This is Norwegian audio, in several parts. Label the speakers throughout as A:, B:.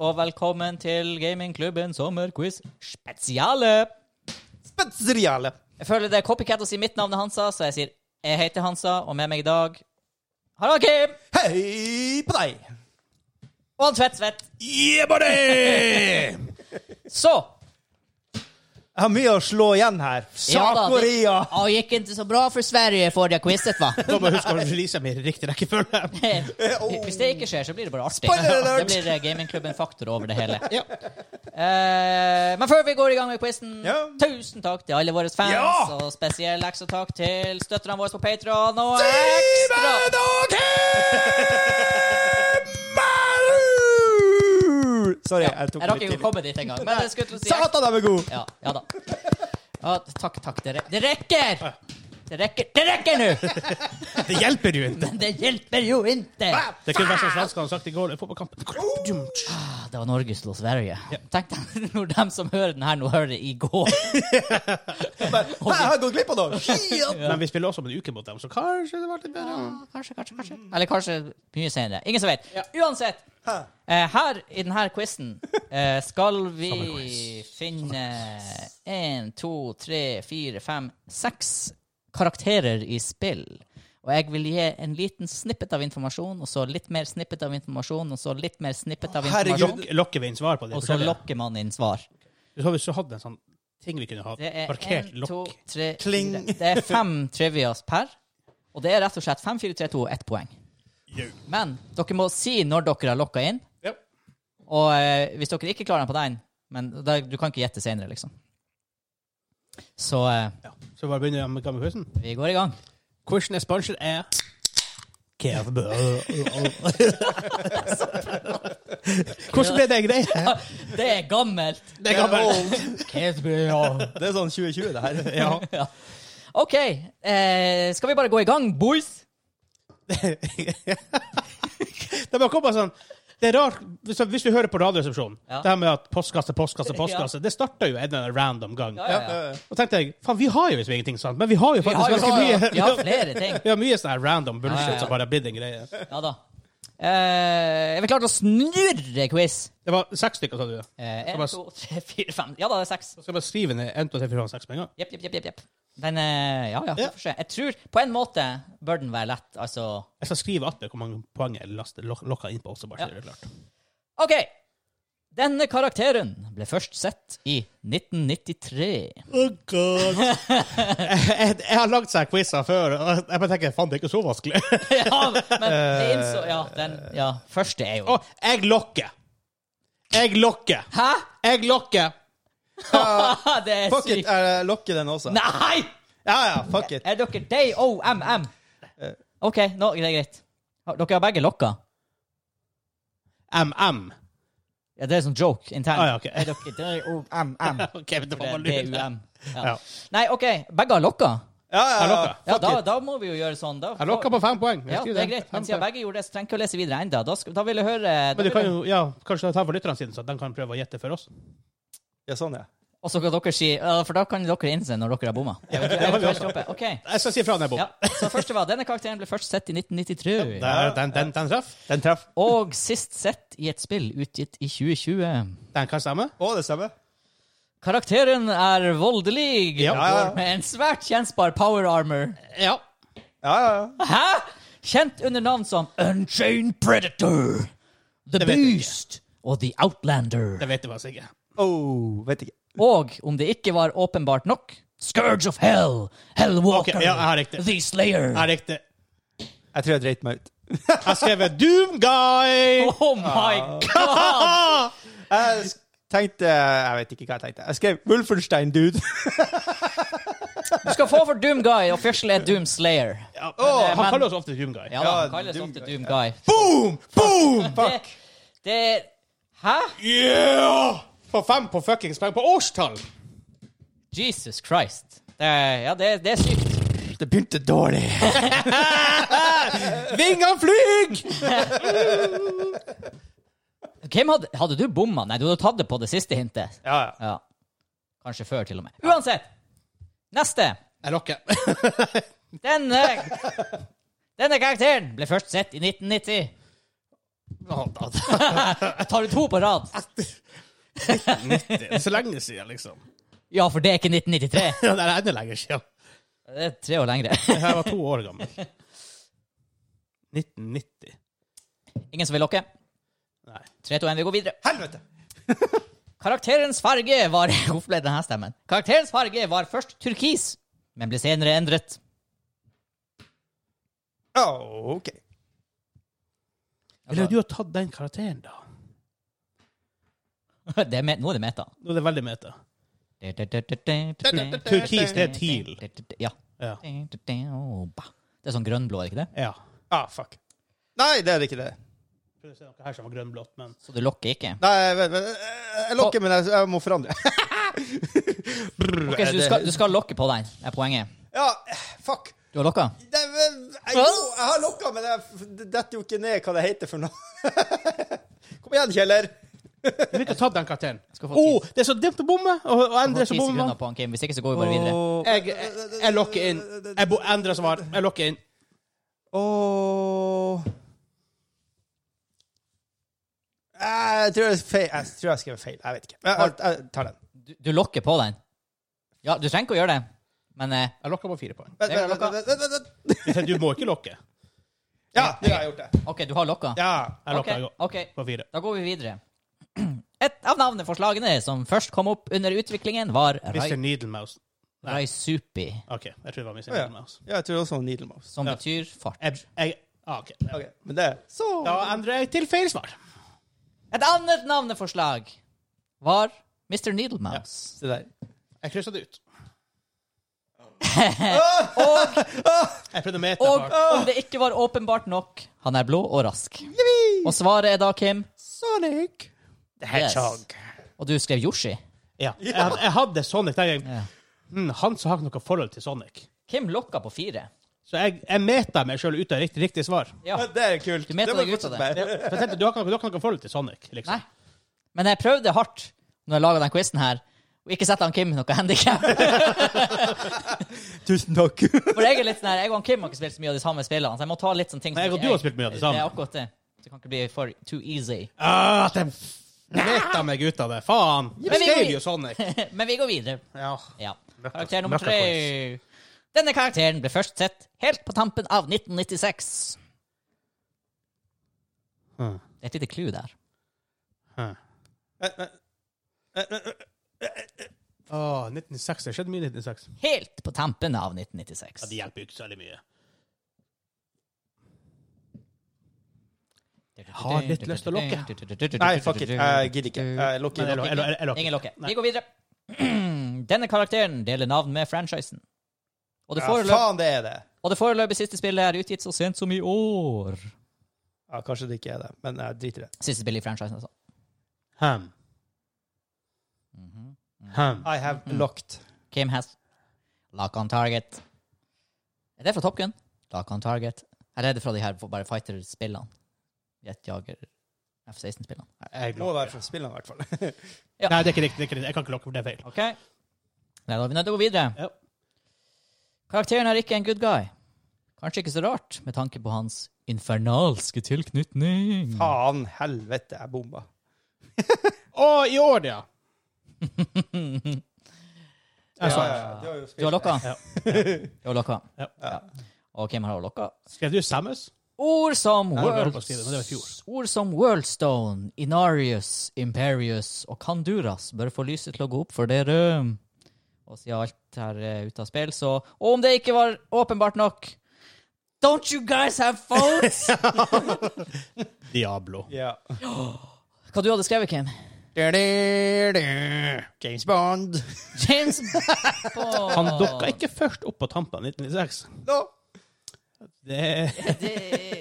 A: og velkommen til gamingklubben sommerquiz spesiale.
B: Spesiale.
A: Jeg føler det er copycat å si mitt navn er Hansa, så jeg sier jeg heter Hansa, og med meg i dag har jeg Kim
B: Hei på deg!
A: og han Tvedt Tvedt.
B: Yeah, buddy! Jeg
A: Så
B: har mye å slå igjen her.
A: ja da, det-
B: Sør-Korea!
A: Ja, det gikk ikke så bra for Sverige forrige quizet, va?
C: Da må jeg huske å release dem i riktig rekkefølge.
A: Hvis det ikke skjer, så blir det bare artig.
B: Eh, Spoiler alert!
A: Det blir eh, gamingklubben-faktor over det hele.
C: Ja.
A: Eh, men før vi går i gang med quizen,
B: Ja.
A: tusen takk til alle våre fans.
B: Ja!
A: Og spesiell ekstra takk til støtterne våre på Patron. Og ekstra
B: Simen og Kim Maru! Sorry, jeg tok
A: Jeg rakk ikke å
B: litt tidlig.
A: komme dit engang. Men jeg skulle til å si
B: Satan, de er gode!
A: ja, ja da. Ja, takk, takk. Det, re det rekker! Det rekker Det rekker nå!
C: Det hjelper jo ikke.
A: Det hjelper jo ikke!
C: Det kunne vært som svenskene hadde sagt i går. Fotballkampen.
A: Ah, Det var Norge som slo Sverige. Tenk deg når dem som hører den her, nå hører det i går.
B: Hæ, Jeg har gått glipp av noe! Shit.
C: Men vi spiller også om en uke mot dem, så kanskje det var litt bedre.
A: Kanskje, kanskje, kanskje. Mm. Eller kanskje mye senere. Ingen som vet. Uansett. eh, her i denne quizen eh, skal vi finne én, to, tre, fire, fem, seks karakterer i spill. Og jeg vil gi en liten snippet av informasjon, og så litt mer snippet av informasjon, og så litt mer snippet av
B: herregud.
A: informasjon,
C: Lok lokker vi inn svar på det?
A: og så lokker man inn svar.
C: Så har vi så hatt en sånn ting vi kunne ha
A: Det er
C: markert
A: en, to,
C: lokk.
A: tre,
B: Kling.
A: fire. Det er fem trivias per. Og det er rett og slett fem, fire, tre, to og ett poeng. Men dere må si når dere har lokka inn.
C: Ja.
A: Og eh, hvis dere ikke klarer den på den Men da, du kan ikke gjette senere, liksom. Så eh,
C: Ja. Så bare begynner vi med quizen.
A: vi går i gang.
C: Quizen er sponset er Kevbø. Hvordan ble det greia?
A: Ah, Det er gammelt!
C: Det kan være
B: Det er sånn 2020, det her.
C: Ja.
A: Ja. OK. Eh, skal vi bare gå i gang, boys?
C: Det bare kommer sånn det er rart, hvis, hvis du hører på Radioresepsjonen,
A: Ja.
C: det her med at postkasse, postkasse, postkasse, det starter jo en eller annen random gang.
A: Ja, ja, ja.
C: Og tenkte jeg, faen, vi har jo liksom ingenting sant, men vi har
A: Vi
C: jo faktisk
A: har jo
C: ganske mye.
A: vi har flere ting.
C: Vi har mye sånn her random bullshit
A: Ja, ja, ja.
C: som bare har blitt en greie.
A: Ja da. Eh, er vi klare til å snurre quiz?
C: Det var seks stykker, sa du.
A: Eh, en,
C: Skal bare-
A: to, tre, fire, fem. Ja da, det er seks.
C: Så skal jeg bare skrive ned 1, 2, 3, 4, 5, 6 med en gang.
A: Jepp, jepp, jepp. jepp, jepp. Den eh, Ja, ja, vi
C: Ja.
A: får se. Jeg tror på en måte bør den være lett, altså.
C: Jeg skal skrive at det er hvor mange poeng jeg last- lok- lokka inn på også, bare
A: Ja.
C: så det er klart.
A: OK. Denne karakteren ble først sett i 1993.
C: Oh god. jeg, jeg har lagd sånne quizer før, og jeg bare tenker, faen, det er ikke så vanskelig.
A: ja, men det innså Ja, den ja, første er jo
C: Å, jeg lokker. Jeg lokker.
A: Hæ?!
C: Jeg lokker.
A: det er
B: Fuck it,
A: sykt.
B: jeg lokker den også.
A: Nei!
B: Ja, ja, fuck it.
A: Er dere DOMM?
C: Eh.
A: OK, nå, det er greit. Har- Dere har begge lokka?
C: MM.
A: Ja, det er sånn joke internt.
C: Ah, ja, ok.
A: Er dere DOMM?
C: Ok, men det var
A: For
C: bare
A: det er
C: lurt.
A: DUM. Ja.
C: Ja.
A: Nei, OK. Begge har lokka?
B: Ja, ja,
C: Jeg
B: ja.
C: lokker.
A: Ja,
C: Fuck
A: da,
C: it.
A: da må vi jo gjøre sånn. Da,
C: Jeg lokker på fem poeng. Jeg
A: Ja,
C: skriver
A: det er greit.
C: Fem
A: Men siden
C: poeng.
A: begge gjorde det, så trenger jeg ikke å lese videre ennå. Da, sk- da vil jeg høre da
C: Men du
A: vil
C: kan
A: jeg-
C: jo, ja, kanskje ta for lytterne sine, så at de kan prøve å gjette for oss.
B: Ja, sånn, ja.
A: Og så kan dere si ja, For da kan dere innse når dere har bomma. Eventuelt droppe. OK.
C: Jeg skal si fra når jeg bor.
A: Ja, så første var Denne karakteren ble først sett i 1993.
C: Der, den, den, den treff.
B: Den treffer.
A: Og sist sett i et spill utgitt i 2020.
C: Den kan stemme.
B: Å, det stemmer.
A: Karakteren er voldelig
C: Ja.
A: går med en svært kjensbar power armor.
C: Ja.
B: Ja, ja, ja.
A: Hæ? Kjent under navn som Unchained Predator, The
C: Det vet jeg ikke.
A: Beast og The Outlander.
C: Det vet jeg faktisk ikke.
B: Oh, vet ikke.
A: Og om det ikke var åpenbart nok Scourge of Hell, Hellwalker,
C: Ok, ja, jeg har riktig.
A: The Slayer.
C: Ja, riktig.
B: Jeg tror jeg dreit meg ut.
C: Jeg skrev Doomguy!
A: Oh my god!
B: Jeg s- tenkte Jeg vet ikke hva jeg tenkte. Jeg skrev Wolfenstein, dude.
A: Du skal få for Doom Guy, official er Doom Slayer.
C: Ja,
B: Åh,
C: eh, han kaller oss ofte Doomguy.
A: Ja, da, han
B: Ja,
A: kalles
B: Doom
A: ofte
B: Guy,
A: Doom Guy.
B: Boom! Boom!
A: Det,
B: Fuck.
A: det Hæ?
C: Yeah! Få fem på fuckings poeng på årstall!
A: Jesus Christ. Det, ja, det, det er sykt.
B: Det begynte dårlig.
C: Vingene flyg!
A: Hvem hadde, hadde du bomma? Nei, du hadde tatt det på det siste hintet.
B: Ja, ja.
A: Ja. Kanskje før, til og med. Uansett. Neste.
C: Jeg lokker.
A: eh, Denne Denne karakteren ble først sett i 1990.
C: Ja, da- da-
A: Tar du to på rad?
C: Det er så lenge siden, liksom.
A: Ja, for det er ikke 1993.
C: Ja, Det er enda lenger siden.
A: Det er tre år lengre.
C: Jeg var to år gammel. 1990.
A: Ingen som vil lokke?
C: Nei.
A: 3, 2, 1, vi går videre.
B: Helvete!
A: Karakterens farge var Hvorfor ble denne stemmen? Karakterens farge var først turkis, men ble senere endret.
B: Oh, OK.
C: Eller du har tatt den karakteren, da.
A: Altså, Det er me Nå er det meta.
C: Nå er det veldig meta.
A: Ja.
C: Turkis, det er TIL. Ja.
A: Det er sånn grønnblå, er det ikke det?
C: ja.
B: Ah, fuck. Nei, det er ikke det.
C: Prøv å se noe her som var grønnblått, men
A: Så du lokker ikke?
B: Nei, vent, vent. Jeg lokker, men jeg, jeg må forandre. Brr,
A: Ok, så du
B: det-
A: skal, du skal lokke på den, er poenget.
B: Ja, fuck.
A: Du har lokka?
B: Det, jeg, jo, jeg har lokka, men jeg det detter jo ikke ned hva det heter for noe. Kom igjen, Kjeller.
C: Du vil ikke ha tatt den karakteren.
A: skal få
C: Å, det er så dumt å bomme! Og,
A: Du
C: og
A: får
C: Endre som
A: ti sekunder
C: bommer.
A: på han, Kim. Hvis ikke, så går vi bare videre.
C: Jeg, jeg, jeg lokker inn. Jeg bo, Endre som var Jeg lokker inn.
B: Åh. Ah, Jeg tror jeg, feil. jeg tror jeg skrev feil. Jeg vet ikke. Jeg, jeg, jeg tar den.
A: Du, du lokker på den. Ja, du trenger ikke å gjøre det, men eh,
C: Jeg lokker på fire poeng.
B: Vent,
A: Det er
B: vent,
A: lokka.
B: vent, vent, vent, vent.
C: Du må ikke lokke.
B: Ja, nå har jeg gjort det.
A: OK, du har lokka?
B: Ja.
C: Jeg
A: OK,
C: lokker jeg
A: ok,
C: på fire.
A: da går vi videre. Et av navneforslagene som først kom opp under utviklingen, var Rai,
C: Mr. Needlemouse.
A: Raisupi,
C: OK, jeg tror det var Mr.
B: ja.
C: Needlemouse.
B: Ja, jeg tror også Needle Mouse.
A: som
C: Ja.
A: betyr fart.
C: Jeg, jeg, ah, ok.
B: Ok, men det Så
C: Da endrer jeg til feil svar.
A: Et annet navneforslag var Mr. Needlemouse.
B: Se der.
C: Jeg kryssa det ut.
A: Og
C: Jeg prøvde å mete
A: Og
C: bak.
A: om det ikke var åpenbart nok, han er blå og rask. Og svaret er da, Kim
B: Sonic.
A: Hedgehog. Og du skrev Yoshi.
C: Ja. Jeg, hadde- jeg hadde Sonic den gangen.
A: Ja.
C: Mm, han som har ikke noe forhold til Sonic.
A: Kim lokka på fire.
C: Så jeg, jeg meta meg sjøl ut av riktig, riktig svar.
A: Ja.
B: Ja, det er kult.
A: Du mente
B: Det må
A: deg
B: vi
A: ut av
B: fortsette
A: det.
B: med.
C: For jeg tenkte, du har ikke noe- du har ikke noe forhold til Sonic.
A: Nei.
C: liksom.
A: Men jeg prøvde hardt når jeg laga den quizen her, og ikke sette han Kim noe handikap.
B: Tusen takk.
A: For jeg er litt sånn her, jeg og han Kim har ikke spilt så mye av de samme spillene, så jeg må ta litt sånne ting som
C: Nei, jeg og du har spilt mye av det samme.
A: Det er akkurat det. Så det kan ikke bli for too easy.
C: Ah, at jeg meta meg ut av det. Faen!
A: Men
C: Jeg
A: vi-
C: skrev jo Sonic.
A: Men vi går videre.
C: Ja.
A: Ja.
C: Møkka-
A: Karakter nummer
C: møkka
A: tre. Denne karakteren ble først sett helt på tampen av 1996.
C: Hmm.
A: Det er et lite clue der.
C: Åh, 1906. Ah, Det skjedde mye i 1906.
A: Helt på tampen av
C: Ja,
A: 1996.
C: det hjelper jo ikke så veldig mye. har litt lyst til å lokke.
B: Nei, fuck it. Jeg gidder ikke. Jeg
C: Men
B: lukker.
C: jeg, lo- jeg, lo- jeg, lo-
A: Ingen lokke.
C: Nei.
A: Vi går videre. Denne karakteren deler navn med franchisen. Og det,
B: Ja,
A: foreløp,
B: faen, det er det.
A: og det foreløpig siste spillet er utgitt så sent som i år.
B: Ja, kanskje det ikke er det, men jeg driter i det.
A: Siste spillet i franchisen, altså.
C: Ham.
A: Mhm,
C: Ham.
B: I have locked.
A: Kim has Lock on target. Er det fra Top Gun? Lock on target. Eller er det fra de her bare fighter-spillene? Jetjager F-16-spillene.
C: Jeg
B: Må
C: lokker.
B: være fra spillene, i hvert fall.
A: Ja.
C: Nei, det er ikke riktig. det er ikke riktig. Jeg kan ikke lokke, for det er feil.
A: OK. Nei, da er vi nødt til å gå videre.
C: Ja.
A: Karakteren er ikke en good guy. Kanskje ikke så rart, med tanke på hans infernalske tilknytning.
B: Faen helvete, jeg bomba.
C: Å, i år, ja!
B: Ja,
C: Jeg sa
B: ja, ja, det var jo
A: Du har
B: spilt.
A: lokka?
C: Ja.
A: Du har lokka.
C: Ja.
A: Og Kim har også lokka.
C: Skrev du Samus?
A: Ord som,
C: Nei, det var på å
A: World,
C: skrive, men det var i fjor.
A: ord som Worldstone, Inarius, Imperius og Kanduras bør få lyset til å gå opp for dere. Og siden alt her er ute av spill, så Og om det ikke var åpenbart nok Don't you guys have phones?
C: Diablo.
B: Ja.
A: Hva du hadde skrevet, Kim?
B: James Bond.
A: James Bond.
C: Han dukka ikke først opp på tampen av 1996.
B: No.
C: Det er,
A: Det-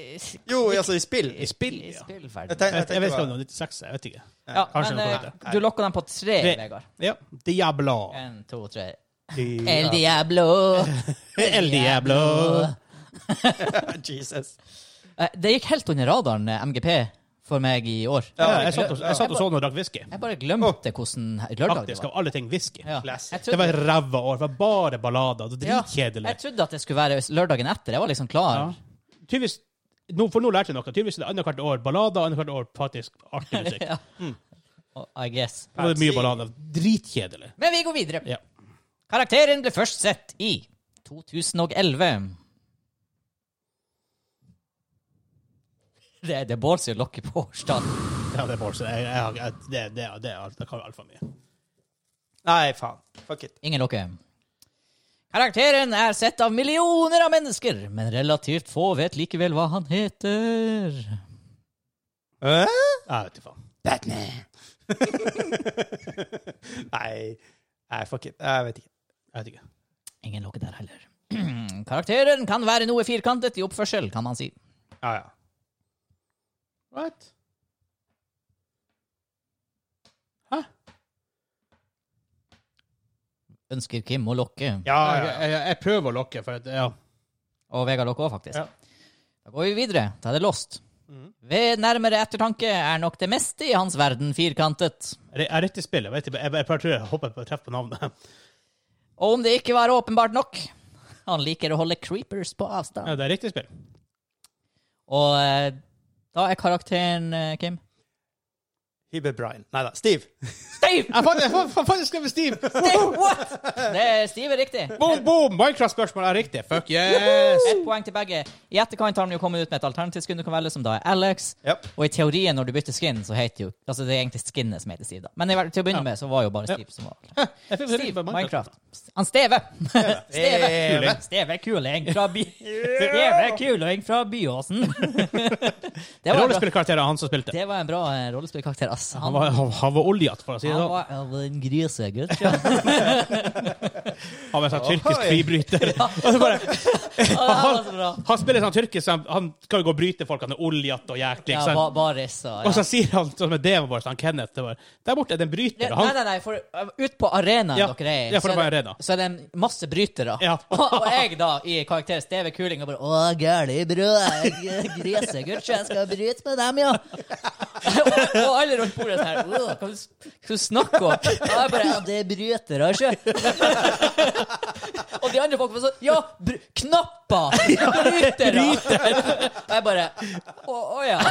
B: Jo, altså i spill.
C: I spill,
A: I
C: ja.
A: spillverden.
B: Jeg,
C: jeg,
B: tenk, jeg,
C: vet- jeg vet ikke
B: tenker
C: om
B: bare-
C: det var 96. Jeg vet ikke.
A: Ja,
C: Kanskje
A: men
C: noe
A: eh,
C: sånt.
A: du lokka dem på tre,
C: Tre.
A: Vegard.
C: Ja. Diablo.
A: En, to, tre. El
C: Diablo.
A: Diablo.
C: El Diablo.
B: Jesus.
A: Eh, Det gikk helt under radaren, eh, MGP, for meg i år.
C: Ja, jeg satt og, jeg satt og så noe og drakk whisky.
A: Jeg bare glemte hvordan lørdag det
C: Faktisk,
A: var.
C: av alle ting, whisky.
A: Ja.
B: Classic.
A: Jeg
C: Det var
A: trodde,
C: et ræva år. Det var bare ballader. Det var
A: Ja,
C: dritkjedelig.
A: jeg trodde at det skulle være lørdagen etter. Jeg var liksom klar.
C: Ja. Tydeligvis nå, for nå lærte jeg noe. Tydeligvis er det annethvert år ballader, annethvert år faktisk artig musikk.
A: ja. Oh, I guess.
C: Nå er det mye ballader. Dritkjedelig.
A: Men vi går videre.
C: Ja.
A: Karakteren ble først sett i 2011. Det, det er Bård som lokker på årstallet.
C: Ja, det er Bård, så jeg, jeg, har- jeg, det, det, det, er alt- jeg kan altfor mye.
B: Nei, faen. Fuck it.
A: Ingen lokker. Karakteren er sett av millioner av mennesker, men relativt få vet likevel hva han heter.
C: Jeg vet ikke faen.
B: Batman. Nei. Nei, fuck it. Jeg vet ikke.
C: Jeg vet ikke.
A: Ingen lokker der heller. Karakteren kan være noe firkantet i oppførsel, kan man si.
B: Ja, ja.
C: What? Hæ?
A: Ønsker Kim å lokke.
C: Jeg,
B: Ja, ja, ja.
C: jeg, jeg prøver å lokke, for at, ja.
A: Og Vegard Lokke òg, faktisk.
C: Ja.
A: Da går vi videre. Da er det Lost. Ved nærmere ettertanke er nok det meste i hans verden firkantet.
C: Jeg- Jeg er rett i spillet. Jeg, vet ikke, jeg, jeg, bare tror jeg håper på å treffe på navnet.
A: Og om det ikke var åpenbart nok Han liker å holde creepers på
C: Ja,
A: avstand.
C: det er riktig spill.
A: Og eh, da er karakteren, eh, Kim
B: Hibe Brian. Nei da. Steve.
A: Steve!
C: Jeg fant, jeg fant, fant jeg skrev med Steve!
A: Steve! What?! Det er Steve er riktig.
C: Boom, boom! Minecraft-spørsmål er riktig. Fuck yes!
A: Ett poeng til begge. I etterkant har de jo kommet ut med et alternativt skin du kan velge, som da er Alex.
B: Japp.
A: Og i teorien, når du bytter skin, så heter jo Altså, det er egentlig skinnet som heter Steve, da. Men i hvert- til å begynne med, så var jo bare Steve som var
C: Jeg fikk
A: Steve,
C: bare
A: Minecraft. Han Steve. Steve.
B: Steve.
A: Steve Kuling fra by... Steve Kuling fra Byåsen. Det var, en bra,
C: Rollespillkarakteren er han som spilte.
A: det var en bra eh, rollespillkarakter, ass.
C: Han
A: Han,
C: var, han, han var oljat, for å si det
A: han
C: sånn.
A: var han var en grisegutt.
C: Han var en sånn tyrkisk
B: Oi.
C: fribryter. Og så bare,
A: Ja, det var så bra.
C: han spiller sånn tyrkisk, han, han skal jo gå og bryte folk, han er oljat og jæklig.
A: Ja,
C: ikke sant?
A: ba- Baris og
C: Og
A: ja.
C: så sier han sånn som en demon vår, han Kenneth, det var, der borte er det en bryter. og
A: Nei,
C: Han,
A: nei, nei, for uh, ut på arenaen
C: Ja,
A: dere er i,
C: ja, for
A: så,
C: det var
A: er
C: arena.
A: så er det en masse brytere.
C: Ja.
A: og, og jeg, da, i karakter Steve Kuling, og bare 'Å, gæli brød, grisegutt, jeg skal bryte med dem, ja'. og, og alle rundt bordet sånn her «Åh, Hva du, hva du snakker om? Og jeg bare ja, 'Det er brytere, ikke?' og de andre folk var sånn 'Ja, br knapper! Brytere!' og jeg bare 'Å, å ja'.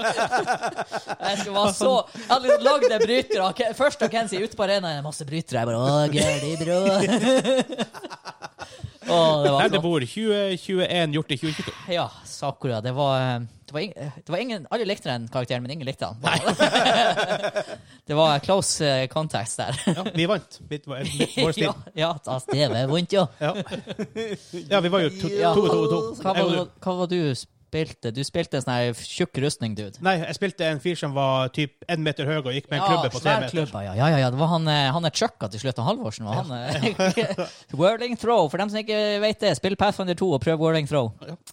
A: Jeg skulle være så Jeg hadde liksom lagd en bryter av Ken- Først av Kenzie ute på arenaen, en masse brytere. Jeg bare Å, gøli, bro. Å, det var
C: der det
A: flott.
C: bor 2021 gjort i 2022.
A: Ja, Sakura. Det var, eh, det var, ing- eh, det var ingen Alle likte den karakteren, men ingen likte han. det var close eh, contacts der.
C: Ja, vi vant. Mitt, var- mitt, vår stil.
A: ja, ja, altså, det var vondt, jo.
C: Ja. ja, vi var jo to,
A: Ja.
C: to, to, to.
A: Hva
C: Jeg
A: var,
C: var-
A: hva var du spilte? Du spilte en sånn her tjukk rustning, dude.
C: Nei, jeg spilte en fyr som var typ en meter høy og gikk med en
A: Ja,
C: klubbe på tre
A: svær
C: meter.
A: klubba, ja, ja, ja, ja. Det var han, eh, han er Chucka til slutt, og Halvorsen var han. eh. whirling throw, for dem som ikke vet det, spill Pathfinder 2 og prøv whirling throw.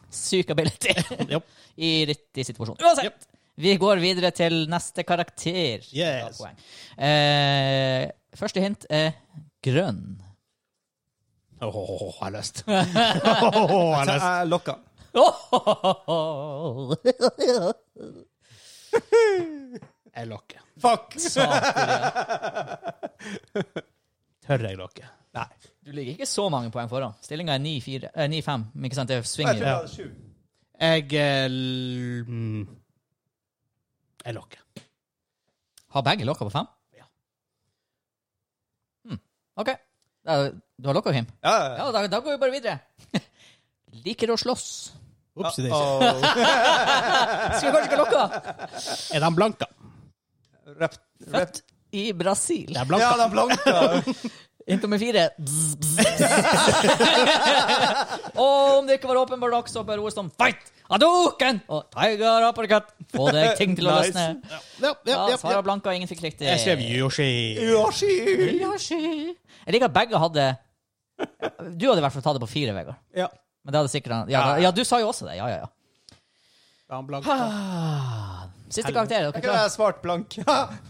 A: Syk ability
C: Ja.
A: i riktig situasjon. Uansett, vi går videre til neste karakter.
C: Yes.
A: Ja, poeng. Eh, første hint er grønn.
C: Åh, jeg har lyst. Åh, jeg har
B: Så
C: lyst.
B: jeg lokka.
C: Jeg lokker.
B: Fuck!
A: Saklig.
C: Tør jeg lokke?
B: Nei.
A: Du ligger ikke så mange poeng foran. Stillinga er 9-4, eh, 9-5. Ikke sant, det
B: Jeg tror
A: svinger.
B: jeg hadde sju.
C: Jeg eh, l- mm. Jeg lokker.
A: Har begge lokka på fem?
C: Ja.
A: Hmm. OK. Da, du har lokka, Kim?
B: Ja,
A: Ja, da, da går vi bare videre. Liker å slåss.
C: Ops, det er ikke-
B: Uh-oh.
A: Skulle kanskje ikke lokka?
C: Er de blanka?
B: Rep- rep-
A: Født i Brasil.
C: De er
B: Ja,
C: blanka.
B: den blanka.
A: Hint nummer fire. Bzz, bzz, bzz. Og om det ikke var åpenbart nok, så bør ord som fight, adoken og tiger uppercut få deg ting til å
B: Nice.
A: løsne.
C: Ja,
A: Ja,
C: ja, ja,
A: Sara
C: ja.
A: Blanka, ingen fikk riktig.
C: Jeg skrev Yoshi.
B: Yoshi!
A: Yoshi. Jeg liker at begge hadde Du hadde i hvert fall tatt det på fire, Vegard.
B: Ja.
A: Men det hadde sikkert han ja, da- ja, du sa jo også det. Ja, ja, ja.
C: De blanka.
A: Siste karakter. er Dere
B: Jeg kunne
A: klare?
B: ha svart blank.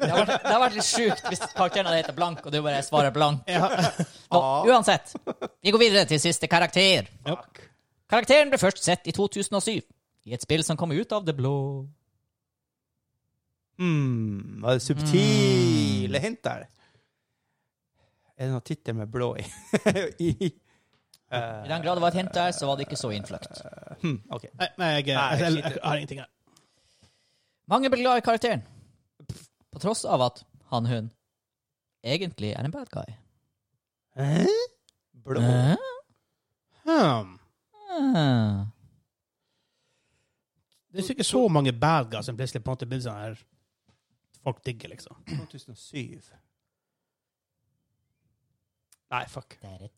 B: Ja.
A: Det hadde vært, det hadde vært litt sjukt hvis karakteren hadde hett Blank, og du bare svarer Blank. Nå,
B: Ah.
A: uansett. Vi går videre til siste karakter.
B: Fuck.
A: Karakteren ble først sett i 2007 i et spill som kom ut av det blå.
B: Mm, var det subtile
A: Mm.
B: hint der? Er det noen tittel med blå i? I
A: I den grad det var et hint der, så var det ikke så innfløkt.
B: OK.
C: Nei, nei jeg,
B: Nei,
C: jeg, jeg,
B: sliter.
C: jeg har ingenting her.
A: Mange ble glad i karakteren, på tross av at han-hun egentlig er en bad guy. Ah.
B: Blå.
A: Hæ?
C: Hmm.
A: Ah.
C: Det er sikkert så mange bad guys som plutselig på en måte blir sånn her Folk digger, liksom.
B: 2007. Nei, fuck. Jeg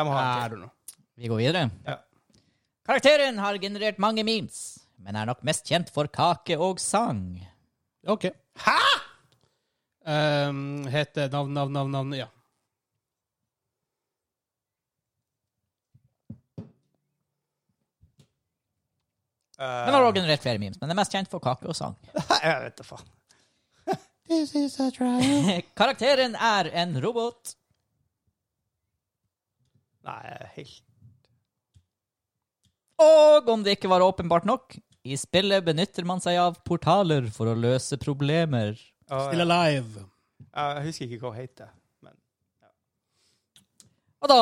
B: må ha
C: I
B: en
C: don't
B: til.
C: know.
A: Vi går videre.
B: Ja.
A: Karakteren har generert mange memes, men er nok mest kjent for kake og sang.
C: OK. Hæ?! Um, heter navn, navn, navn, navn Ja.
B: Eh,
A: Den har også generert flere memes, men er mest kjent for kake og sang.
B: jeg vet da faen.
C: This is a trial.
A: Karakteren er en robot.
B: Nei, helt
A: Og om det ikke var åpenbart nok, i spillet benytter man seg av portaler for å løse problemer.
B: Å,
C: Still alive.
B: ja. Jeg husker ikke hva hun heter. Men
A: Og da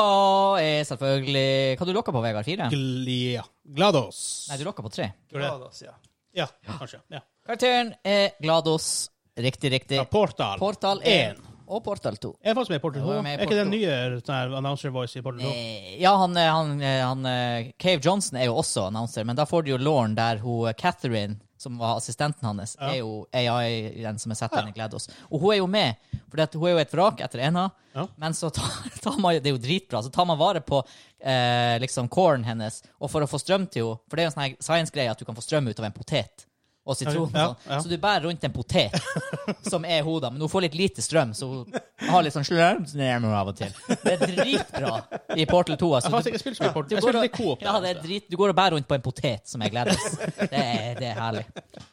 A: er selvfølgelig Hva du lokka på, Vegard? Fire?
C: Glia. Glados.
A: Nei, du lokka på tre.
C: Gjorde det?
B: Glados, ja.
C: Ja, kanskje. Ja.
A: Karakteren er Glados. Riktig, riktig.
C: Ja, Portal.
A: Portal 1 og Portal 2.
C: Jeg er faktisk med i Portal
A: Jeg var
C: 2.
A: med i
C: Er ikke
A: Portal
C: den nye sånn her announcer voice i Portal 2?
A: Eh, Ja, han, eh, han, eh, han eh, Cave Johnson er jo også annonser, men da får du jo Lauren der hun eh, Catherine, som var assistenten hans, er jo AI, den som er satt inn i GLaDOS. Og hun er jo med, for hun er jo et vrak etter ena,
C: Ja.
A: men så tar, tar man Det er jo dritbra. Så tar man vare på eh, liksom coren hennes, og for å få strøm til henne For det er jo en sånn her science-greie at du kan få strøm ut av en potet. Og sitron. og
C: Ja,
A: sånn.
C: ja.
A: Så du bærer rundt en potet som er hodet, men hun får litt lite strøm, så hun har litt sånn slørmsnærmer av og til. Det er dritbra i Portal 2.
C: Jeg
A: Altså,
C: har faktisk ikke spilt så mye Portal. Jeg
A: går
C: spilte
A: og-
C: litt Coop.
A: ja, det er drit, du går og bærer rundt på en potet, som jeg gleder meg det, er- det er herlig.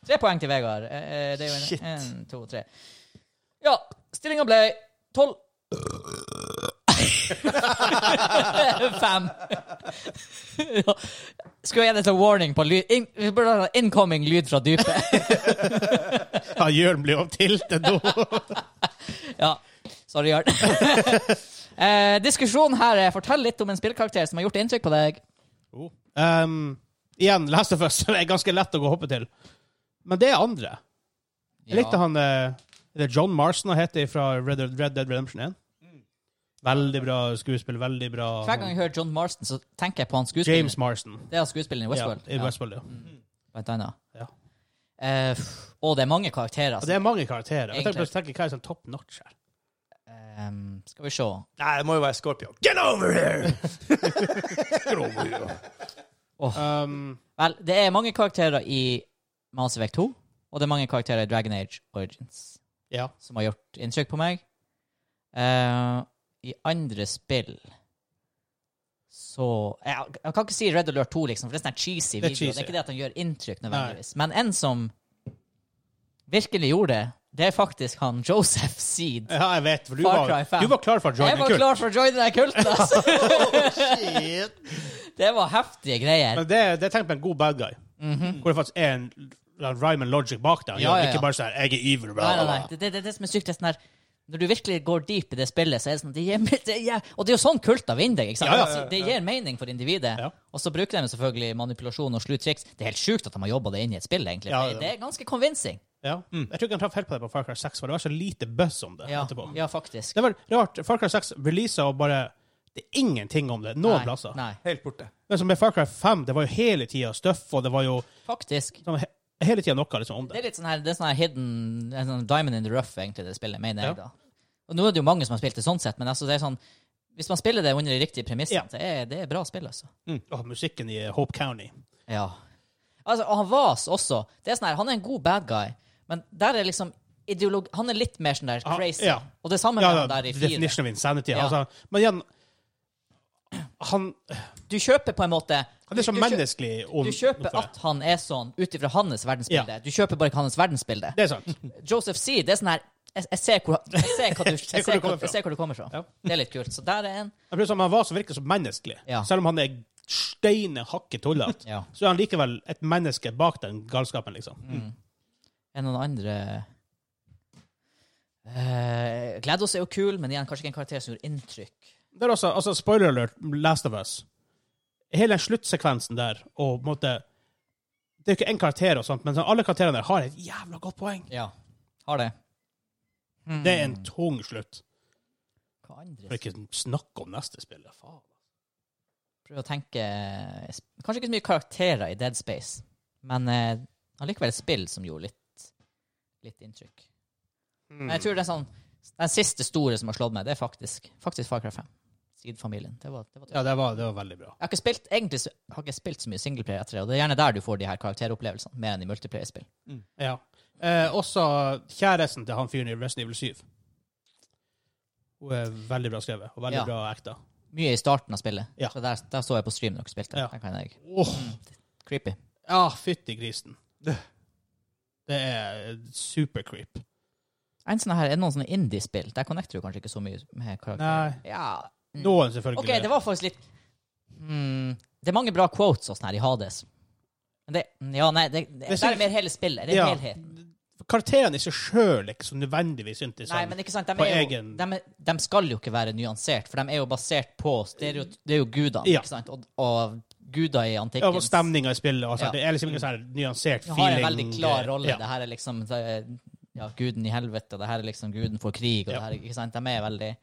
A: Tre poeng til Vegard. Eh, eh, Det er jo en,
B: Shit.
A: en, to, tre. Ja, stillinga ble tolv Fem. Ja. Skulle jeg gi det som warning på lyd in, Vi burde ha Incoming lyd fra dypet.
C: Ja, Jørn blir jo tiltet nå.
A: Ja. Sorry, Jørn. eh, diskusjonen her er fortell litt om en spillkarakter som har gjort inntrykk på deg.
C: Um, igjen, Last of Us er ganske lett å gå og hoppe til. Men det er andre. Jeg likte han eh, det er John Marston han heter fra Red, Red Dead Redemption 1.
B: Mm.
C: Veldig bra skuespill, veldig bra
A: Hver gang jeg hører John Marston, så tenker jeg på han skuespilleren.
C: James Marston.
A: Det er han skuespilleren i Westworld. Mm.
C: Ja, i Westworld, ja.
A: Blant annet.
C: Ja.
A: Eh, pff, og det er mange karakterer.
C: Og
A: Altså.
C: det er mange karakterer. Jeg tenker,
A: Egentlig.
C: på- tenker hva er sånn top notch her?
A: Ehm, skal vi se.
B: Nei, det må jo være Scorpio. Get over here!
C: Um,
A: Vel, det er mange karakterer i Mass Effect 2, og det er mange karakterer i Dragon Age Origins
C: ja.
A: som har gjort inntrykk på meg. Eh, I andre spill så jeg, jeg kan ikke si Red Alert 2, liksom, for det er sånn her cheesy
C: Det er
A: video. Det
C: cheesy.
A: er ikke det at han gjør inntrykk, nødvendigvis. Men en som virkelig gjorde det, det er faktisk han Joseph Seed.
C: ja, jeg vet, for du
A: Far
C: var,
A: Cry fem.
C: du var klar for å
A: Jeg
C: joine
A: var
C: kult.
A: klar for å joine den kulten, altså! Det var heftige greier.
C: Men det, det er tenkt på en god bad guy. Hvor det faktisk er en la- rhyme and logic bak der.
A: Mhm. Ja, ja, ja.
C: Ikke bare sånn 'jeg er evil', bla,
A: Nei,
C: bla,
A: nei, nei.
C: bla.
A: Det, det, det, er det som er sykt, det er sånn her Når du virkelig går deep i det spillet, så er det sånn det gir, det gir, Og det er jo sånn kulter vinner deg. ikke sant?
C: Ja, ja,
A: Altså, Det gir mening for individet.
C: Ja.
A: Og så bruker de selvfølgelig manipulasjon og slutriks. Det er helt sjukt at de har jobba det inn i et spill, egentlig.
C: Ja,
A: det,
C: ja.
A: det er ganske convincing.
C: Ja. Jeg tror ikke han traff helt på det på Far Cry 6, for det var så lite buzz om det
A: Mm. Ja,
C: etterpå.
A: ja faktisk.
C: Det var rart. Far Cry 6 releasa og bare Det er ingenting om det noen
A: Nei,
C: plasser.
A: Nei,
B: Helt borte.
C: Men som med Far Cry 5, det var jo hele tida stuff, og det var jo
A: faktisk.
C: sånn, he, hele tida noe liksom, om
A: Det
C: det.
A: er litt sånn her, det er sånn her hidden en sånn Diamond in the rough, egentlig, det spillet, mener jeg, da. Og nå er det jo mange som har spilt det sånn sett, men altså, det er sånn Hvis man spiller det under de riktige premissene,
C: Ja.
A: så er det er bra spill, altså.
C: Mm. Åh, musikken i Hope County.
A: Ja. Altså, og han Vas også. Det er sånn her, Han er en god bad guy, men der er liksom ideolog... Han er litt mer sånn der
C: Ah,
A: crazy.
C: ja.
A: Og det samme med
C: Ja,
A: han
C: ja,
A: der i fire.
C: definition of insanity.
A: Ja.
C: Altså, men igjen Han,
A: Du kjøper på en måte
C: han er så
A: du, kjø-
C: menneskelig ond.
A: du kjøper at han er sånn ut ifra hans verdensbilde. Du kjøper bare ikke hans verdensbilde.
C: Det er sant.
A: Joseph C, det er sånn her Jeg, jeg ser hvor jeg ser hva du, jeg ser hva,
C: hvor du kommer fra.
A: jeg ser hvor du kommer fra.
C: Ja.
A: Det er litt kult. Så der er en.
C: Jeg blir sånn, Han var så virkelig så menneskelig.
A: Ja.
C: Selv om han er steine hakket tullete,
A: Ja. Mm.
C: så er han likevel et menneske bak den galskapen, liksom.
A: enn noen andre Eh, uh, Glados er jo kul, men igjen kanskje ikke en karakter som gjorde inntrykk.
C: Det er også, altså, spoiler alert, Last of Us. Hele den sluttsekvensen der, og på en måte Det er jo ikke én karakter, og sånt, men sånn, alle karakterene der har et jævla godt poeng.
A: Ja. Har det.
C: Det er en tung slutt.
A: Mm. Hva
C: For
A: andre
C: ikke snakke om neste spill. ja, Faen.
A: Prøv å tenke eh, Kanskje ikke så mye karakterer i Dead Space, men eh, allikevel et spill som gjorde litt, litt inntrykk. Men jeg tror det er sånn Den siste store som har slått meg, det er faktisk, faktisk Far Cry 5. Seed-familien. Det var, det var
C: Ja, det var, det var veldig bra.
A: jeg har ikke spilt, egentlig så- har jeg ikke spilt så mye singleplayer etter det, og det er gjerne der du får de her karakteropplevelsene, mer enn i multiplayer-spill.
C: Ja. Eh, også kjæresten til han fyren i Resident Evil 7. Hun er veldig bra skrevet, og veldig
A: Ja.
C: bra ekta.
A: Mye i starten av spillet.
C: Ja.
A: Så der, der så jeg på stream når dere spilte.
C: Ja.
A: Der kan jeg,
C: Åh,
A: creepy.
C: ja, fytti grisen. Det er super creep.
A: En sånn her, er det noen sånne indie-spill? Der connecter du kanskje ikke så mye med karakterer.
C: Nei.
A: Ja. Mm.
C: Noen, selvfølgelig.
A: OK, det var faktisk litt hmm, Det er mange bra quotes og sånn her i Hades. Men det Ja, nei, det, det,
C: Hvis
A: der
C: du-
A: er mer hele spillet. Det er
C: Ja.
A: helheten.
C: Karakterene i seg sjøl er ikke så nødvendigvis
A: Nei,
C: interessante.
A: men ikke sant, de,
C: på
A: er jo,
C: egen-
A: de, er, de skal jo ikke være nyansert, for de er jo basert på stereo... Det er jo gudene,
C: Ja.
A: ikke sant? Og, og guder i
C: Ja, og
A: antikkens
C: stemninga i spillet. og sånt.
A: Ja.
C: Det er liksom ikke sånn her nyansert feeling. eh,
A: har en veldig klar rolle.
C: Ja.
A: Det her er liksom det er, ja, guden i helvete, og det her er liksom guden for krig, og
C: Ja.
A: det her, er- ikke sant? De er veldig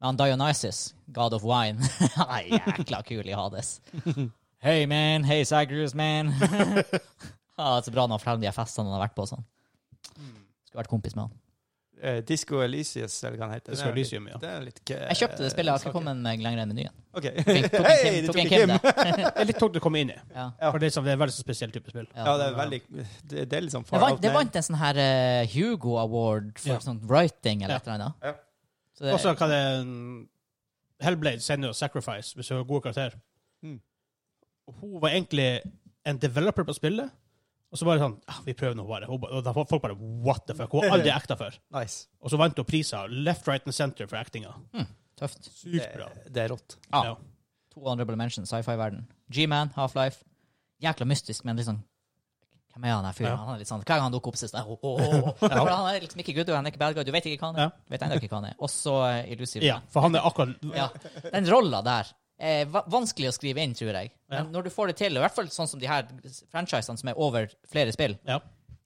A: Men han Dionysus, god of wine, han er jækla kul i Hades. Hey man, hey Sagrus man. ja, det er så bra når han forteller om de her festene han har vært på og sånn. Skulle vært kompis med han.
B: Eh, Disco Elisius, eller hva den heter.
C: Disco
B: Den er litt-
C: Elysium, ja.
B: den er litt k-
A: Jeg kjøpte det spillet, jeg har ikke kommet meg lenger enn menyen.
B: Ok.
A: Tok en- tok en Kim-
B: Hei, Eh, du
A: tok
B: tok
A: en
B: en
A: Kim
B: Kim!
A: der.
C: Det er litt tungt å komme inn i.
A: Ja.
B: Ja.
C: For det er, sånn, det er en veldig så spesiell type spill.
A: Ja.
B: Ja, det er veldig Det, det er liksom
A: Det
B: far
A: vant,
B: out
A: det
B: now.
A: vant en sånn her eh, Hugo Award for
C: Ja.
A: sånn writing eller
C: Ja.
A: et eller annet.
B: Ja.
A: Så det,
C: Også kan det Hellblade sender jo Sacrifice, hvis hun har god karakter.
B: Mm.
C: Og Hun var egentlig en developer på spillet, og så bare sånn ah, Vi prøver nå bare. Hun ba- Og da folk bare What the fuck? Hun har aldri acta før.
B: Nice.
C: Og så vant hun priser left, right and center for actinga.
A: Tøft.
C: Sykt bra.
B: Det, det er rått.
A: Ja.
C: Ja.
A: To honorable mentions, sci-fi-verden. G-Man, Half-Life. Jækla mystisk, men liksom Hvem er han her fyren?
C: Ja.
A: Han er litt sånn, Hver gang han dukker opp, så er det sånn, «Åh, åh, åh, åh». For Han er liksom ikke good, og han er ikke bad guy. Du vet ikke hva han er.
C: Ja.
A: Vet enda ikke hva han er. Også eh, Illusive.
C: ja, for han er akkurat
A: Ja. Den rolla der er va- vanskelig å skrive inn, tror jeg. Men når du får det til, og i hvert fall sånn som de her franchisene som er over flere spill,
C: Ja.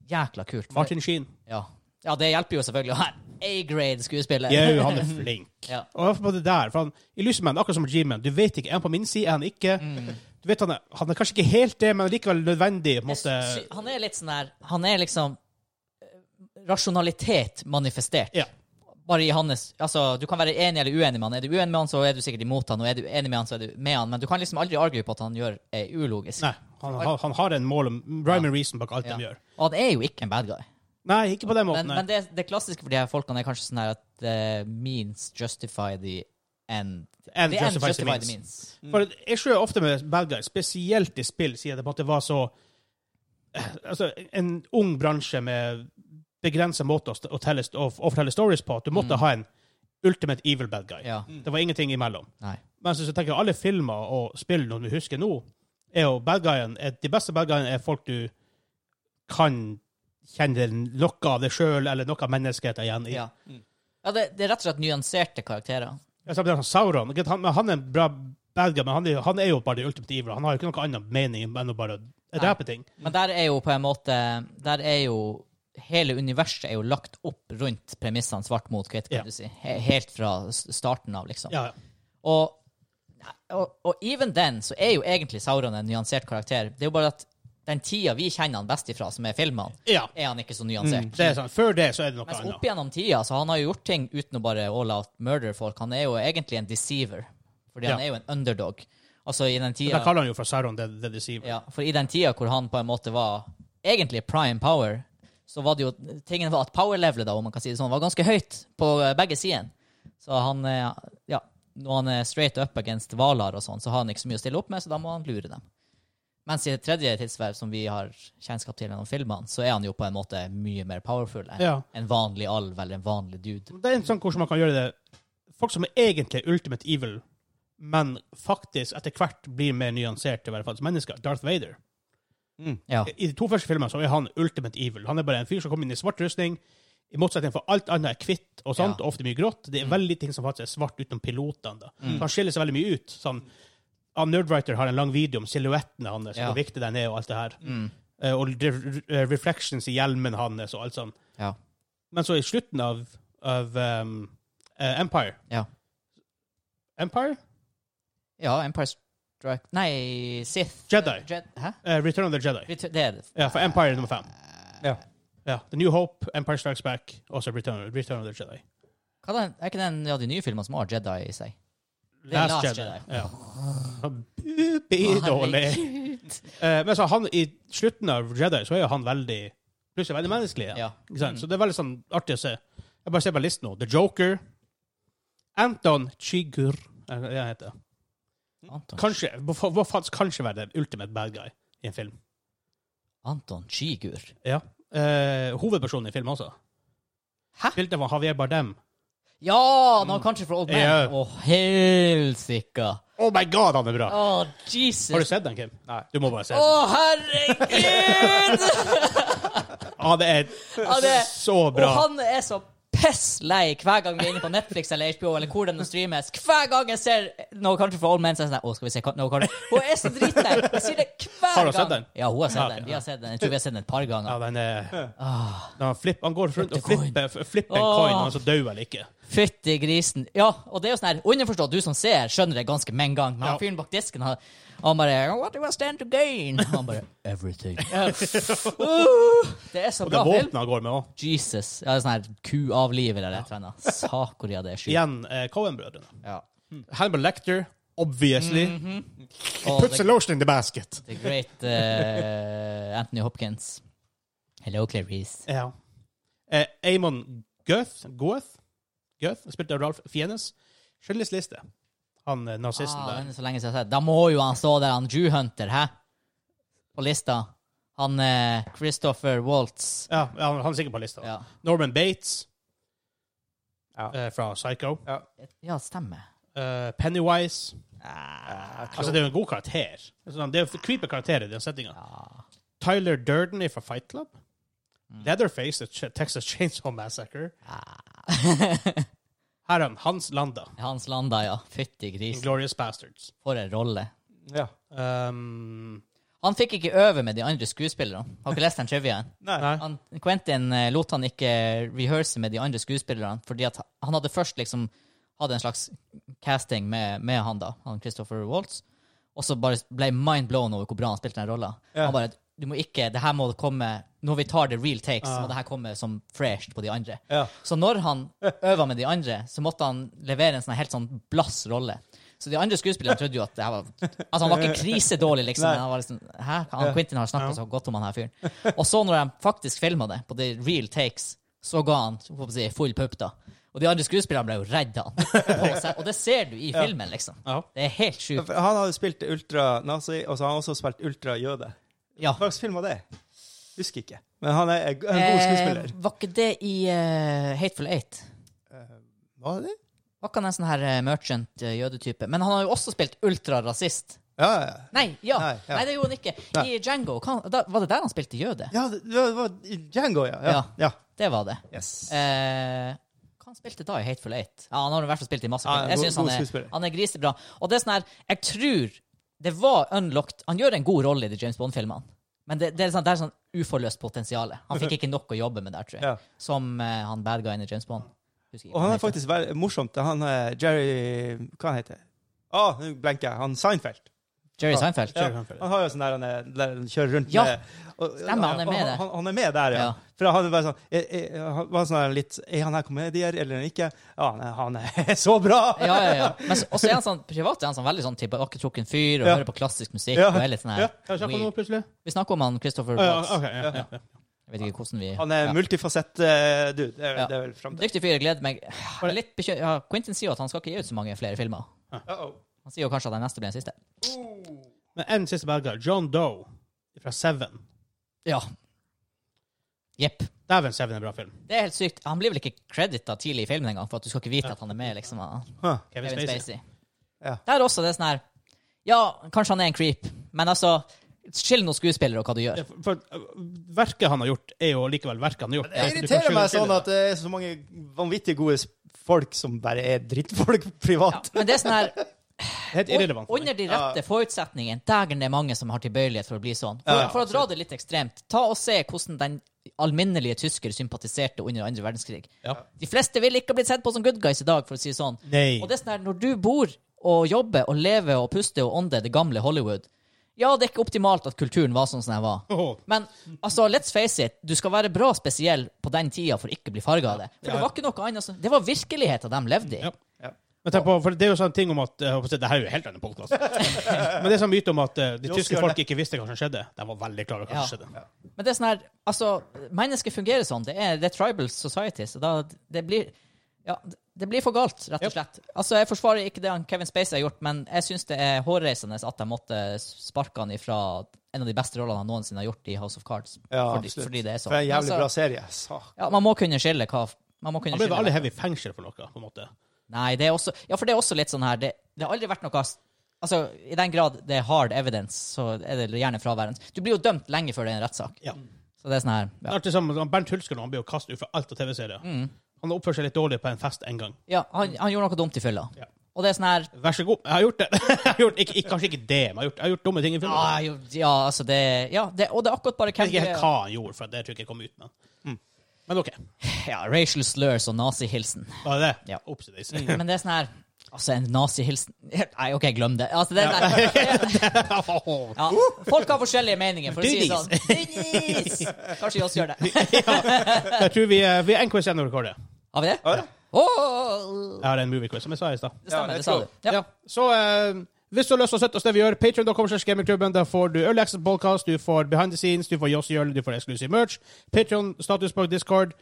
A: jækla kult. For-
C: Martin Sheen.
A: Ja. ja, det hjelper jo selvfølgelig å ha en A-grade skuespiller.
C: Jau, han er flink.
A: Ja.
C: Og i hvert fall på det der, for han, i Lysemann, akkurat som G-Man, du vet ikke, er han på min side, er han ikke?
A: Mm.
C: Du vet, han er, han er kanskje ikke helt det, men likevel nødvendig, på en måte.
A: Jeg sy- Han er litt sånn der Han er liksom eh, rasjonalitet manifestert.
C: Ja.
A: Bare i hans Altså, du kan være enig eller uenig med han. Er du uenig med han, så er du sikkert imot han, og er du enig med han, så er du med han, men du kan liksom aldri argue på at han gjør er ulogisk.
C: Nei, han, han, han har en mål om rhyme and reason bak alt
A: Ja.
C: de gjør.
A: Og han er jo ikke en bad guy.
C: Nei, ikke på den
A: Men,
C: måten. nei.
A: men det, det klassiske for de her folkene er kanskje sånn her at eh, means justify the end.
C: And
A: the end
C: justifies the
A: justify
C: means.
A: the means.
C: For jeg ser jo ofte med bad guys, spesielt i spill, sier det på en måte var så Altså, en ung bransje med begrenset måte å, st- å, telle, st- å, f- å fortelle stories på, at du måtte ha en ultimate evil bad guy.
A: Mm. Ja.
C: Det var ingenting imellom.
A: Nei.
C: Men så, så tenker jeg alle filmer og spill når du husker nå, er jo bad guyen er, De beste bad guyene er folk du kan kjenne noe av deg sjøl, eller noe av menneskeheten igjen i.
A: Ja. ja det, det er rett og slett nyanserte karakterer.
C: Jeg sa bare sånn, Sauron ikke sant, han, men han er en bra bad guy, men han er, han er jo bare the ultimate evil. Han har jo ikke noe annen mening enn å bare drepe ting.
A: Men der er jo på en måte Der er jo Hele universet er jo lagt opp rundt premissene svart mot hvitt, kan
C: Ja.
A: du si. He helt fra s- starten av, liksom.
C: Ja, ja.
A: Og, og, og even den, så er jo egentlig Sauron en nyansert karakter. Det er jo bare at den tida vi kjenner han best ifra, som er filmene,
C: ja.
A: er han ikke så nyansert.
C: Det er sånn, Før det så er det noe
A: Mens opp
C: annet.
A: gjennom tida, så han har jo gjort ting uten å bare all out murder folk. Han er jo egentlig en deceiver, fordi
C: Ja.
A: han er jo en underdog. Altså i den tida
C: Da kaller han jo for Sauron the, the Deceiver.
A: ja, for i den tida hvor han på en måte var egentlig prime power, så var det jo tingen var at power-levelet, da, om man kan si det sånn, var ganske høyt på eh, begge sider. Så han eh, Ja, når han er straight up against Valar og sånn, så har han ikke så mye å stille opp med, så da må han lure dem. Mens i det tredje tidsverv, som vi har kjennskap til gjennom filmene, så er han jo på en måte mye mer powerful enn
C: Ja.
A: en vanlig alv eller en vanlig dude.
C: Det er en sånn hvordan man kan gjøre det. Folk som er egentlig ultimate evil, men faktisk etter hvert blir mer nyanserte, i hvert fall som mennesker. Darth Vader.
A: Ja.
C: I de to første filmene så er han ultimate evil. Han er bare en fyr som kommer inn i svart rustning, I motsetning for alt annet er hvitt og
A: Ja.
C: sånt,
A: Mm.
C: og ofte mye grått. Det er veldig ting som faktisk er svart utenom pilotene. da. Så han skiller seg veldig mye ut. sånn, ja, Nerdwriter har en lang video om silhuettene hans,
A: Ja.
C: hvor viktig den er, og alt det her.
A: Mm.
C: Eh, og re re reflections i hjelmen hans, og alt sånn.
A: Ja.
C: Men så i slutten av, av ehm, eh, Empire
A: Ja.
C: Empire?
A: ja, Empire Strike Nei, Sith.
C: Jedi.
A: Jed Hæ?
C: Eh, Return of the Jedi.
A: Retur- Det er det.
C: Ja, for Empire er nummer fem.
B: Ja.
C: Ja, The New Hope, Empire Strikes Back, også Return, Return of the Jedi.
A: Hva er den- er ikke den av de nye filmene som har Jedi i seg? Det er Last
C: Last, Jedi.
A: Jedi.
C: Ja. Bidårlig. Eh, men så han, i slutten av Jedi så er jo han veldig plutselig veldig menneskelig. igjen.
A: Ja. Mm.
C: Ikke sant? Så det er veldig sånn artig å se. Jeg bare ser på listen nå. The Joker. Anton Chigur. Er det det han heter?
A: Anton,
C: Kanskje, hva hva faen skal kanskje være den ultimate bad guy i en film?
A: Anton Chigur.
C: Ja. Eh, hovedpersonen i filmen også.
A: Hæ?
C: Spilte av Javier Bardem.
A: Ja! No Country for Old Men. Å,
C: Mm. Ja.
A: helsike!
C: Oh my god, han er bra!
A: Å, Jesus!
C: Har du sett den, Kim?
B: Nei.
C: Du må bare se
A: Å,
C: den.
A: herregud!
C: Ah, det er
A: Ja, det-
C: så
A: Eh, Og
C: bra.
A: han er så pisslei hver gang vi er inne på Netflix eller HBO eller hvor den nå streames. Hver gang jeg ser No Country for Old Men, så er jeg sånn Å, skal vi se No Country Hun er så dritlei! Jeg sier det hver gang.
C: Har hun sett den?
A: Ja, hun har
C: Ja,
A: sett
C: ok,
A: den.
C: ja.
A: Vi har sett den. Jeg tror vi har sett den et par
C: Ja,
A: ganger.
C: den er Når han, flipper, han går rundt og
A: Flip the coin.
C: flipper, f- flipper en
A: Åh.
C: coin, og så dør han ikke.
A: Fytti grisen. Ja, og det er jo sånn her underforstått. Du som ser, skjønner det ganske med en gang. Men
C: Ja.
A: han fyren bak disken, han, han bare What do I stand to gain? Han bare Everything. Ja. Uh, det er så
C: Det
A: bra
C: er
A: film.
C: våpenet han går med òg.
A: Jesus. Ja, det er sånn her kuavliver eller et eller annet. Sakoria, det er sjukt.
C: Igjen eh, Cohen-brødrene.
A: Ja.
C: Hannibal Lecter, obviously.
A: Mhm. Og the,
C: lotion in the basket.
A: the great eh, Anthony Hopkins. Hello, Clarice.
C: Ja. Eh, Amon Goeth, Goeth, Goeth spilte av Ralf Fiennes. Schindlers liste. Han eh, nazisten
A: Ah,
C: der.
A: den er så lenge siden jeg har sett. Da må jo han stå der, han Jewhunter, hæ? På lista. Han eh, Christopher Waltz.
C: Ja, han, han er sikkert på lista.
A: Ja.
C: Norman Bates
B: Ja.
C: eh, fra Psycho.
A: Ja, stemmer.
C: Eh, Pennywise.
A: Ah,
C: Altså, det er jo en god karakter. Sånn, Det er jo creepy karakter i den settinga.
A: ja.
C: Tyler Durden fra Fight Club. Leatherface The Ch- Texas Chainsaw Massacre. Her er han, Hans Landa.
A: Hans Landa, ja. Fytti gris.
C: Glorious Bastards.
A: For en rolle.
B: Ja.
C: Um,
A: Han fikk ikke øve med de andre skuespillerne. Har ikke lest den triviaen.
B: Nei.
C: nei.
A: han, Quentin eh, lot han ikke rehearse med de andre skuespillerne, fordi at han hadde først liksom hadde en slags casting med, med han da, han Christopher Waltz, og så bare ble mind blown over hvor bra han spilte den rolla.
B: Ja.
A: Han bare du må ikke, det her må komme Når vi tar the real takes, må det her komme som fresh på de andre.
B: Ah. Ja.
A: Så når han øva med de andre, så måtte han levere en sånn helt sånn blass rolle. Så de andre skuespillerne trodde jo at det her var Altså, han var ikke krisedårlig, liksom.
B: Nei.
A: Men han var liksom Hæ? Han, Quentin har snakka så godt om han her fyren. Og så, når de faktisk filma det, på the real takes, så ga han så får man si, full pupp, da. Og de andre skuespillerne ble jo redd han. På seg. Og det ser du i filmen, liksom.
C: Ja.
A: Det er helt sjukt.
B: For Han hadde spilt ultranazi, og så har han også spilt ultrajøde.
A: Ja.
B: Hva slags film var det? Husker ikke. Men han er en go- en god
A: Eh,
B: skuespiller.
A: var ikke det i eh, Hateful Eight?
B: eh, Var det det?
A: Var ikke han en sånn her eh, merchant eh, jødetype? Men han har jo også spilt ultrarasist.
B: Ja, ja.
A: Nei, ja.
B: Nei,
A: Nei,
B: ja.
A: det gjorde han ikke. I Django, kan, da, var det der han spilte jøde?
B: ja det, det var i Django, ja. Ja.
A: Ja.
B: ja.
A: Det var det.
B: Yes.
A: Eh, hva han spilte da i Hateful Eight? Ja, han har i hvert fall spilt i masse
B: Ja,
A: film. Jeg
B: god-
A: synes
B: god
A: han,
B: skuespiller.
A: er- han er grisebra. Og det er sånn her, jeg tror det var unlocked Han gjør en god rolle i de James Bond-filmene, men det, det, er sånn, det er sånn uforløst potensial. Han fikk ikke nok å jobbe med der, tror jeg.
B: Ja.
A: Som eh, han bad guyen i James Bond. Husker ikke
B: Og
A: hva
B: han er
A: heter.
B: faktisk veldig morsomt. Han er Jerry Hva han heter han? Ah, nå blenker jeg. Han Seinfeld.
A: Jerry Seinfeld.
B: Ja,
C: Jerry Seinfeld.
B: han har jo sånn der han, er, der han kjører rundt
A: Ja.
B: med og,
A: Stemmer, han er med
B: og
A: der.
B: Han, han er med der, ja.
A: Ja.
B: For han er bare sånn er, er, han var sånn der litt Er han her komedier eller ikke? Ja, han er, han er så bra!
A: Ja, ja, ja. Men så, også er han sånn, privat er han sånn veldig sånn tilbaketrukken fyr og
B: Ja.
A: hører på klassisk musikk.
B: Ja.
A: og er litt sånn her
B: Ja.
C: Kan jeg snakke om noe
A: weird.
C: plutselig?
A: Vi snakker om han Christopher
C: Ah, ja,
A: Watts.
C: ok, ja, ja, ja.
A: Jeg vet ikke hvordan vi
B: Han er
A: ja.
B: multifasett-dude. det, er-
A: Ja.
B: det er vel fram til.
A: Dyktig fyr. jeg Gleder meg. Jeg er Litt bekym- ja, Quentin sier jo at han skal ikke gi ut så mange flere filmer.
B: Uh-oh.
A: Han sier jo kanskje at den neste blir den siste.
C: Men en siste belger. John Doe fra Seven.
A: Ja. Jepp.
C: Dæven, Seven er en bra film.
A: Det er helt sykt. Han blir vel ikke credita tidlig i filmen engang, for at du skal ikke vite at han er med. liksom. han-
B: Huh.
C: Kevin
A: Kevin
C: Spacey.
A: Spacey.
B: Ja.
A: Der også, det er sånn her Ja, kanskje han er en creep, men altså Skill noen skuespillere og hva du gjør.
C: For, for, uh, verket han har gjort, er jo likevel verket han har gjort. Altså,
B: Det
C: Du kan
B: irriterer
C: skylde
B: meg
C: til
B: sånn
C: det.
B: at det er så mange vanvittig gode s- folk som bare er drittfolk privat.
A: Men det er sånn her
C: Det er Helt irrelevant. for meg.
A: Under de rette forutsetningene, dægen det er mange som har tilbøyelighet for å bli sånn. For,
B: Ja,
A: for å dra det litt ekstremt, ta og se hvordan den alminnelige tysker sympatiserte under andre verdenskrig.
C: Ja.
A: De fleste ville ikke ha blitt sett på som good guys i dag, for å si det sånn.
B: Nei.
A: Og det er sånn her, når du bor og jobber og lever og puster og ånder det gamle Hollywood Ja, det er ikke optimalt at kulturen var sånn som den var.
C: Åhå.
A: Men altså, let's face it, du skal være bra spesiell på den tida for ikke å bli farga av det. For det var ikke noe annet som Det var virkeligheten de levde i.
C: Ja. Men tenk på, for Det er jo sånn ting om at eh, jeg håper å si, Det her er jo en helt annen podkast. Men det er sånn myte om at eh, de
B: Jo,
C: tyske
B: gjør
C: folk
B: det.
C: ikke visste hva som skjedde. De var veldig klare over hva som
A: Ja.
C: skjedde.
A: Men det er sånn her Altså, mennesker fungerer sånn. Det er, det er tribal societies. Og da det blir Ja, det blir for galt, rett og
C: Yep.
A: slett. Altså, jeg forsvarer ikke det han Kevin Spacey har gjort, men jeg syns det er hårreisende at jeg måtte sparke han ifra en av de beste rollene han noensinne har gjort i House of Cards.
B: Ja,
A: fordi,
B: absolutt.
A: fordi det er sånn.
B: For en
A: Men
B: jævlig
A: så-
B: bra serie. Sak.
A: Ja, man må kunne skille hva Man må kunne
C: Han ble
A: skille
C: vel aldri
A: hvem-
C: hevet i fengsel for noe, på en måte.
A: Nei, det er også Ja, for det er også litt sånn her Det, det har aldri vært noe s- Altså, i den grad det er hard evidence, så er det gjerne fraværende. Du blir jo dømt lenge før det er en rettssak.
C: Ja.
A: Så det er sånn her ja.
C: Det Mm. er artig sammen, Bernt Hulsker nå, han blir jo kastet ut fra alt av TV-serier.
A: Mm.
C: Han oppfører seg litt dårlig på en fest en gang.
A: Ja, han, han gjorde noe dumt i fylla.
C: Ja.
A: Og det er sånn her
C: Vær så god. Jeg har gjort det. Jeg har gjort, ikke, ikke, kanskje ikke det, men jeg har gjort, jeg har gjort dumme ting i filmen.
A: ah, jo, Ja, altså, det Ja, det, og det er akkurat bare
C: jeg
A: hvem
C: vet ikke helt hva han gjorde, for det tror jeg ikke kom ut med.
B: Mm.
C: Men OK.
A: Ja, racial slurs og nazihilsen.
C: Var det det?
A: Ja.
C: Ops, det er-
A: Men det er sånn her Altså, en nazihilsen Nei, OK, glem det. Altså, det er nei. Ja, folk har forskjellige meninger, for å si det sånn. Dynis! Kanskje vi også gjør det.
C: Jeg tror vi, eh, vi er en quiz igjen å rekorde.
A: Har vi det?
B: Ja.
A: Åh!
C: Jeg har en movie quiz, som jeg sa i stad.
A: det stemmer,
B: Ja,
A: det sa du.
B: jeg
A: Ja.
C: Ja. Så eh, hvis du har lyst til å støtte oss det vi gjør, patreon.com slash gamingklubben, der får du Early Access Podcast, du får Behind the Scenes, du får Jossi Jøl, du får eksklusiv merch, Patreon, status på Discord.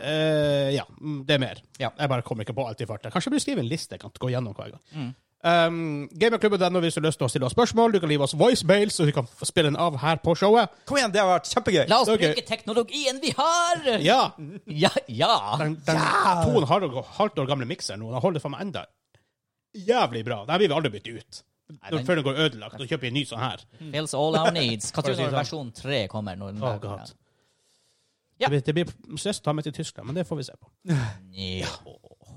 C: Eh, ja, mm, det er mer. Jeg bare kommer ikke på alt i farta. Kanskje jeg burde skrive en liste jeg kan gå gjennom hver gang.
A: Mm.
C: Um, Gamingklubben.no hvis du har lyst til å stille oss spørsmål. Du kan leave oss voicemail, så vi kan få spille den av her på showet.
B: Kom igjen, det har vært kjempegøy.
A: La oss
C: Ok.
A: bruke teknologien vi har!
C: Ja!
A: Ja, ja.
C: Den, den to og en halv år- halvt år gamle mikseren nå, den holder for meg enda jævlig bra. Den blir vi aldri bytte ut.
A: den-
C: Før den går ødelagt. Da kjøper vi en ny sånn her.
A: Fills all our needs. Hva
C: For å
A: tror
C: si
A: du
C: det
A: når
C: sånn.
A: versjon tre kommer? Når den
C: Oh,
A: der-
C: God.
A: Ja.
C: Det blir, det blir stress å ta med til Tyskland, men det får vi se på.
A: Ja.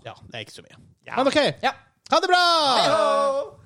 C: Ja, det er ikke så mye. Men OK,
A: ja.
C: ha det bra!
B: Hallo!